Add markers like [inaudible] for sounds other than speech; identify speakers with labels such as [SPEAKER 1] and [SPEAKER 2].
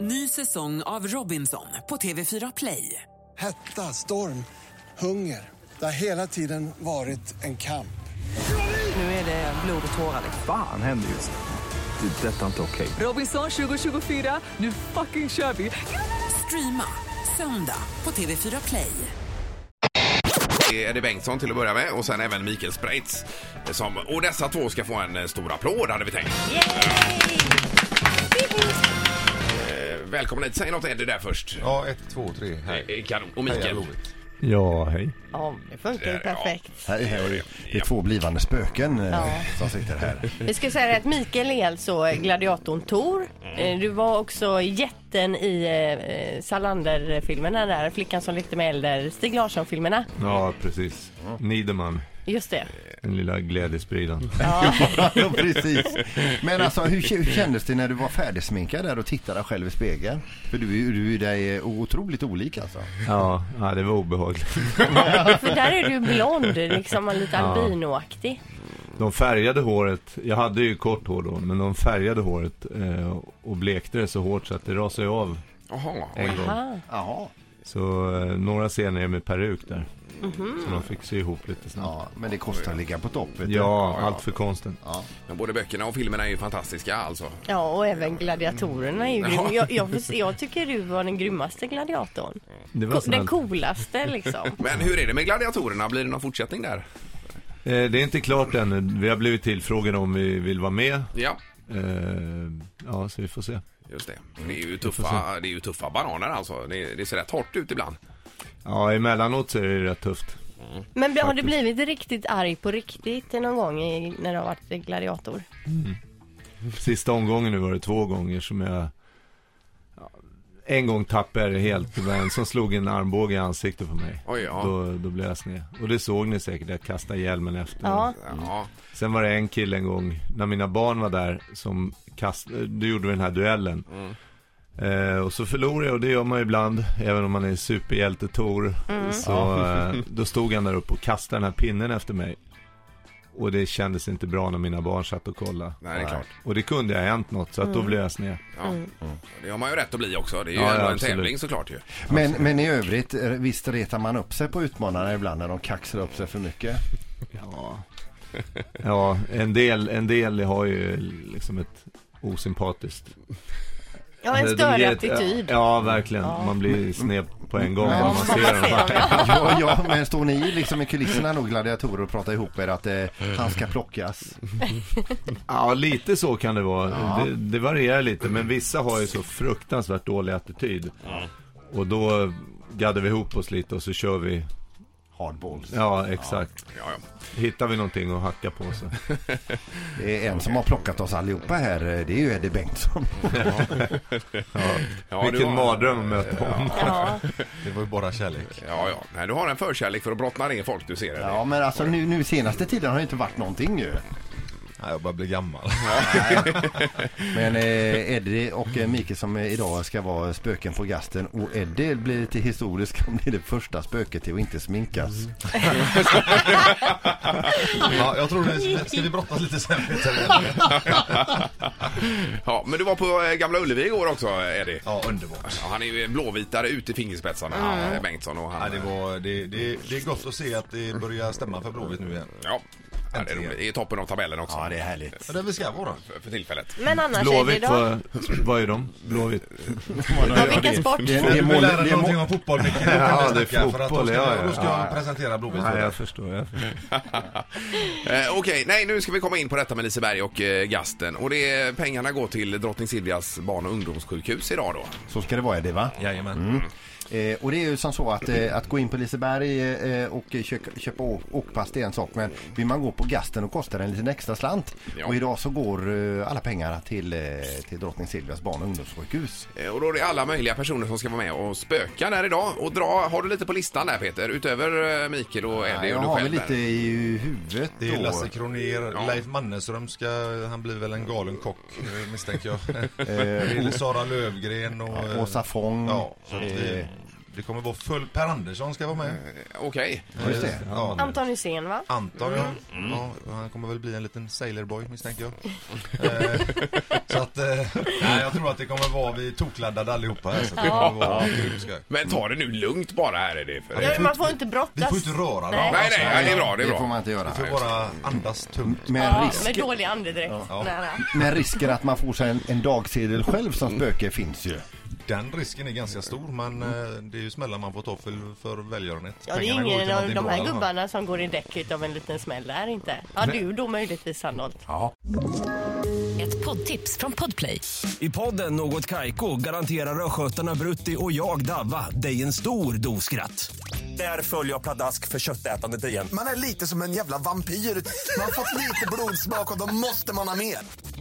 [SPEAKER 1] Ny säsong av Robinson på TV4 Play.
[SPEAKER 2] Hetta, storm, hunger. Det har hela tiden varit en kamp.
[SPEAKER 1] Nu är det blod och tårar. liksom.
[SPEAKER 3] Fan händer just nu. Det. är Detta är inte okej.
[SPEAKER 1] Robinson 2024, nu fucking kör vi! Streama söndag på TV4 Play.
[SPEAKER 4] Det är det Bengtsson till att börja med och sen även Mikael Spreitz. eh, Som, och dessa två ska få en eh, stor applåd hade vi tänkt. Eh, Välkommen hit. Säg något Eddie där först.
[SPEAKER 5] Ja, ett, två, tre. Hej.
[SPEAKER 4] Eh, Kanon. Och
[SPEAKER 5] Hej,
[SPEAKER 4] Mikael.
[SPEAKER 5] Lovik.
[SPEAKER 6] Ja, hej.
[SPEAKER 7] Ja, det funkar ju
[SPEAKER 4] Där, ja.
[SPEAKER 7] perfekt.
[SPEAKER 8] Hej, hej. Det är två blivande spöken eh, som sitter här. [laughs]
[SPEAKER 7] Vi ska säga att Mikael är alltså gladiatorn Tor.
[SPEAKER 6] Mm.
[SPEAKER 7] Eh, Du var också jätten i eh, Salander-filmerna där, Flickan som lekte med elder, Stig Larsson-filmerna.
[SPEAKER 6] Ja, precis. Niederman,
[SPEAKER 7] Just det.
[SPEAKER 6] den lilla glädjespridan.
[SPEAKER 8] Ja, precis. Men alltså, hur, k- hur kändes det när du var färdigsminkad där och tittade dig själv i spegeln? För du, är ju- du är ju dig eh, otroligt olik alltså.
[SPEAKER 6] Ja, ja, det var obehagligt.
[SPEAKER 7] För där är du blond, liksom lite albinoaktig.
[SPEAKER 6] De färgade håret, jag hade ju kort hår då, men de färgade håret eh, och blekte det så hårt så att det rasade ju av
[SPEAKER 4] Jaha.
[SPEAKER 6] en gång.
[SPEAKER 7] Ah.
[SPEAKER 8] Jaha.
[SPEAKER 6] Så eh, några scener är med peruk där. Så de fick sy ihop lite snabbt.
[SPEAKER 8] Ja, men det kostar att ligga på topp. Vet du?
[SPEAKER 6] Ja, allt för konsten.
[SPEAKER 4] Men både böckerna och filmerna är ju fantastiska alltså.
[SPEAKER 7] Ja, och även gladiatorerna är ju grym. jag, jag, får se- jag tycker du var den grymmaste gladiatorn.
[SPEAKER 6] Det var
[SPEAKER 7] Ko- Den
[SPEAKER 6] snällt.
[SPEAKER 7] coolaste
[SPEAKER 6] [laughs]
[SPEAKER 7] liksom.
[SPEAKER 4] Men hur är det med gladiatorerna? Blir det någon fortsättning där?
[SPEAKER 6] Eh, det är inte klart ännu. Vi har blivit tillfrågade om vi vill vara med.
[SPEAKER 4] Ja,
[SPEAKER 6] Eh, ja, så vi får se.
[SPEAKER 4] just det.
[SPEAKER 6] Mm.
[SPEAKER 4] Det är ju tuffa, det är ju tuffa bananer alltså. Det, det ser rätt hårt ut ibland.
[SPEAKER 6] Ja, emellanåt så är det rätt tufft.
[SPEAKER 7] Men har du blivit riktigt arg på riktigt någon gång i, när du har varit
[SPEAKER 6] Mm.
[SPEAKER 7] gladiator?
[SPEAKER 6] Sista omgången nu var det två gånger som jag ja, en gång tappade jag det helt, det var en som slog en armbåge i ansiktet på mig.
[SPEAKER 4] Oj, ja.
[SPEAKER 6] Då, då blev jag sned. Och det såg ni säkert, jag kastade hjälmen efter.
[SPEAKER 7] Ja.
[SPEAKER 4] Ja,
[SPEAKER 6] Sen var det en kille en gång, när mina barn var där, som kastade, då gjorde vi den här duellen. Eh, och så förlorade jag, och det gör man ju ibland, även om man är superhjälte Tor. Så eh, då stod han där uppe och kastade den här pinnen efter mig. Och det kändes inte bra när mina barn satt och kollade.
[SPEAKER 4] nej det är klart.
[SPEAKER 6] Och det kunde ha hänt något, så att då blev jag sned.
[SPEAKER 4] Ja. Det har man ju rätt att bli också. Det är ju
[SPEAKER 6] Ja, ja,
[SPEAKER 4] ändå en
[SPEAKER 6] absolut.
[SPEAKER 4] tävling såklart ju.
[SPEAKER 8] Men, men i övrigt, eh, visst retar man upp sig på utmanarna ibland när de kaxar upp sig
[SPEAKER 6] [laughs]
[SPEAKER 8] för mycket?
[SPEAKER 6] Ja, ja en, del, en del har ju liksom ett osympatiskt.
[SPEAKER 7] Ja, en
[SPEAKER 6] De
[SPEAKER 7] större
[SPEAKER 6] ger ett-
[SPEAKER 7] attityd.
[SPEAKER 6] Ja, verkligen. Man blir sned på en gång när
[SPEAKER 8] Men-
[SPEAKER 6] man ser dem.
[SPEAKER 8] Ja, ja, men står ni liksom i kulisserna då, gladiatorer, och pratar ihop er att eh, han ska plockas?
[SPEAKER 6] Ja, lite så kan det vara. Det, det varierar lite, men vissa har ju så fruktansvärt dålig attityd. Och då gaddar vi ihop oss lite och så kör vi.
[SPEAKER 8] Hardballs.
[SPEAKER 6] Ja, exakt.
[SPEAKER 4] Ja, ja.
[SPEAKER 6] Hittar vi någonting att hacka på så.
[SPEAKER 8] Det är en som har plockat oss allihopa här, eh, det är ju Eddie Bengtsson.
[SPEAKER 4] Ja, du
[SPEAKER 6] Vilken
[SPEAKER 4] har-
[SPEAKER 6] mardröm att möta honom.
[SPEAKER 7] Ja.
[SPEAKER 5] Det var ju bara kärlek.
[SPEAKER 4] Ja, ja. Nej, du har en förkärlek för att brottna ner folk, du ser det.
[SPEAKER 8] Ja, men alltså nu, nu senaste tiden har det inte varit någonting ju.
[SPEAKER 5] Nej, jag bara blir gammal.
[SPEAKER 8] Men eh, Eddie och eh, Mikael som eh, idag ska vara spöken på gasten och Eddie blir lite historisk [laughs] om det är det första spöket till att inte sminkas.
[SPEAKER 5] Ja, jag tror det ska vi brottas lite sen Peter? eller?
[SPEAKER 4] Ja, men du var på eh, Gamla Ullevi igår också, Eddie.
[SPEAKER 5] Ja, underbart.
[SPEAKER 4] Ja, han är ju blåvitare ut i fingerspetsarna, eh, Bengtsson. Och han,
[SPEAKER 5] Ja, det, var, det, det, det är gott att se att det börjar stämma för Blåvitt nu igen.
[SPEAKER 4] Ja, ja, det är roligt. I toppen av tabellen också. Eh,
[SPEAKER 8] Ja, det är härligt.
[SPEAKER 5] Ja, Där vi ska vara.
[SPEAKER 4] för, för tillfället.
[SPEAKER 7] Men annars är
[SPEAKER 6] Blåvitt,
[SPEAKER 7] det då...
[SPEAKER 6] vad, vad är de? Blåvitt?
[SPEAKER 7] Ja, vilken sport?
[SPEAKER 8] Det,
[SPEAKER 5] Du
[SPEAKER 8] det är
[SPEAKER 5] vill
[SPEAKER 8] mål,
[SPEAKER 5] lära
[SPEAKER 8] det
[SPEAKER 5] dig
[SPEAKER 8] är
[SPEAKER 5] någonting
[SPEAKER 8] mål,
[SPEAKER 5] om fotboll Micke.
[SPEAKER 6] Ja, det är
[SPEAKER 5] För att då
[SPEAKER 6] fotboll,
[SPEAKER 5] ska,
[SPEAKER 6] ja, ja.
[SPEAKER 5] jag- då ska jag presentera Blåvitt.
[SPEAKER 6] Nej,
[SPEAKER 5] för dig.
[SPEAKER 6] jag förstår. Jag förstår.
[SPEAKER 4] Eh, Okej, nej, nu ska vi komma in på detta med Liseberg och eh, Gasten. Och det är, pengarna går till Drottning Silvias barn och ungdomssjukhus idag då.
[SPEAKER 8] så ska det vara Eddie va?
[SPEAKER 5] Jajamän.
[SPEAKER 6] Mm.
[SPEAKER 8] Eh, och det är ju som så att, eh, att gå in på Liseberg eh, och köpa, köpa å- åkpass det är en sak men vill man gå på gasten och kostar det en liten extra slant.
[SPEAKER 4] Ja.
[SPEAKER 8] Och idag så går eh, alla pengarna till, eh, till Drottning Silvias barn och ungdomssjukhus.
[SPEAKER 4] Eh, Och då är det alla möjliga personer som ska vara med och spöka där idag. Och dra, har du lite på listan där Peter? Utöver eh, Mikael och Eddie
[SPEAKER 8] jag
[SPEAKER 4] och du
[SPEAKER 8] har
[SPEAKER 4] själv
[SPEAKER 8] väl lite
[SPEAKER 4] där.
[SPEAKER 8] i huvudet
[SPEAKER 5] Det är
[SPEAKER 8] då.
[SPEAKER 5] Lasse Kronér, Leif Mannerström ska, han blir väl en galen kock eh, [laughs] misstänker jag. Det är Sara Lövgren och... eh,
[SPEAKER 8] Åsa Fång.
[SPEAKER 5] Ja, så att
[SPEAKER 8] eh,
[SPEAKER 5] vi-
[SPEAKER 6] Det kommer vara full... Per Andersson ska vara med.
[SPEAKER 4] Okej.
[SPEAKER 8] just det.
[SPEAKER 6] Ja.
[SPEAKER 7] Anton Hysén va?
[SPEAKER 6] Anton, ja.
[SPEAKER 7] Mm.
[SPEAKER 6] ja. Han kommer väl bli en liten sailorboy
[SPEAKER 7] [laughs]
[SPEAKER 6] misstänker jag. Eh, så att, eh, nej, jag tror att det kommer vara, vi är tokladdade allihopa här. Så att det kommer vara grymt skoj.
[SPEAKER 4] Men ta det nu lugnt bara här är det. För...
[SPEAKER 7] Ja, men man får inte
[SPEAKER 6] Vi
[SPEAKER 7] brottas.
[SPEAKER 6] får inte röra dem.
[SPEAKER 7] Nej.
[SPEAKER 4] Nej, nej, nej, det är bra, det är
[SPEAKER 8] Det får man
[SPEAKER 4] bra.
[SPEAKER 8] inte göra.
[SPEAKER 6] Vi får bara andas tungt.
[SPEAKER 8] Men,
[SPEAKER 7] Ja,
[SPEAKER 8] risk,
[SPEAKER 7] med dålig andedräkt. Nära.
[SPEAKER 8] men risken att man får sig en, en dagsedel själv som spöke finns ju.
[SPEAKER 6] Den risken är ganska stor men eh, det är ju smällar man får ta för, för välgörenhet.
[SPEAKER 7] Ja, det är
[SPEAKER 6] Pengarna går
[SPEAKER 7] ingen
[SPEAKER 6] till
[SPEAKER 7] av
[SPEAKER 6] någonting
[SPEAKER 7] de
[SPEAKER 6] bra i
[SPEAKER 7] här
[SPEAKER 6] alla fall.
[SPEAKER 7] gubbarna som går i däck utav en liten smäll där inte. Ja, du då möjligtvis Sandholt.
[SPEAKER 9] Ett poddtips från Podplay.
[SPEAKER 10] I podden Något Kaiko garanterar östgötarna Brutti och jag, Davva, dig en stor dos skratt. Där följer jag pladask för köttätandet igen.
[SPEAKER 11] Man är lite som en jävla vampyr. Man har fått lite blodsmak och då måste man ha mer.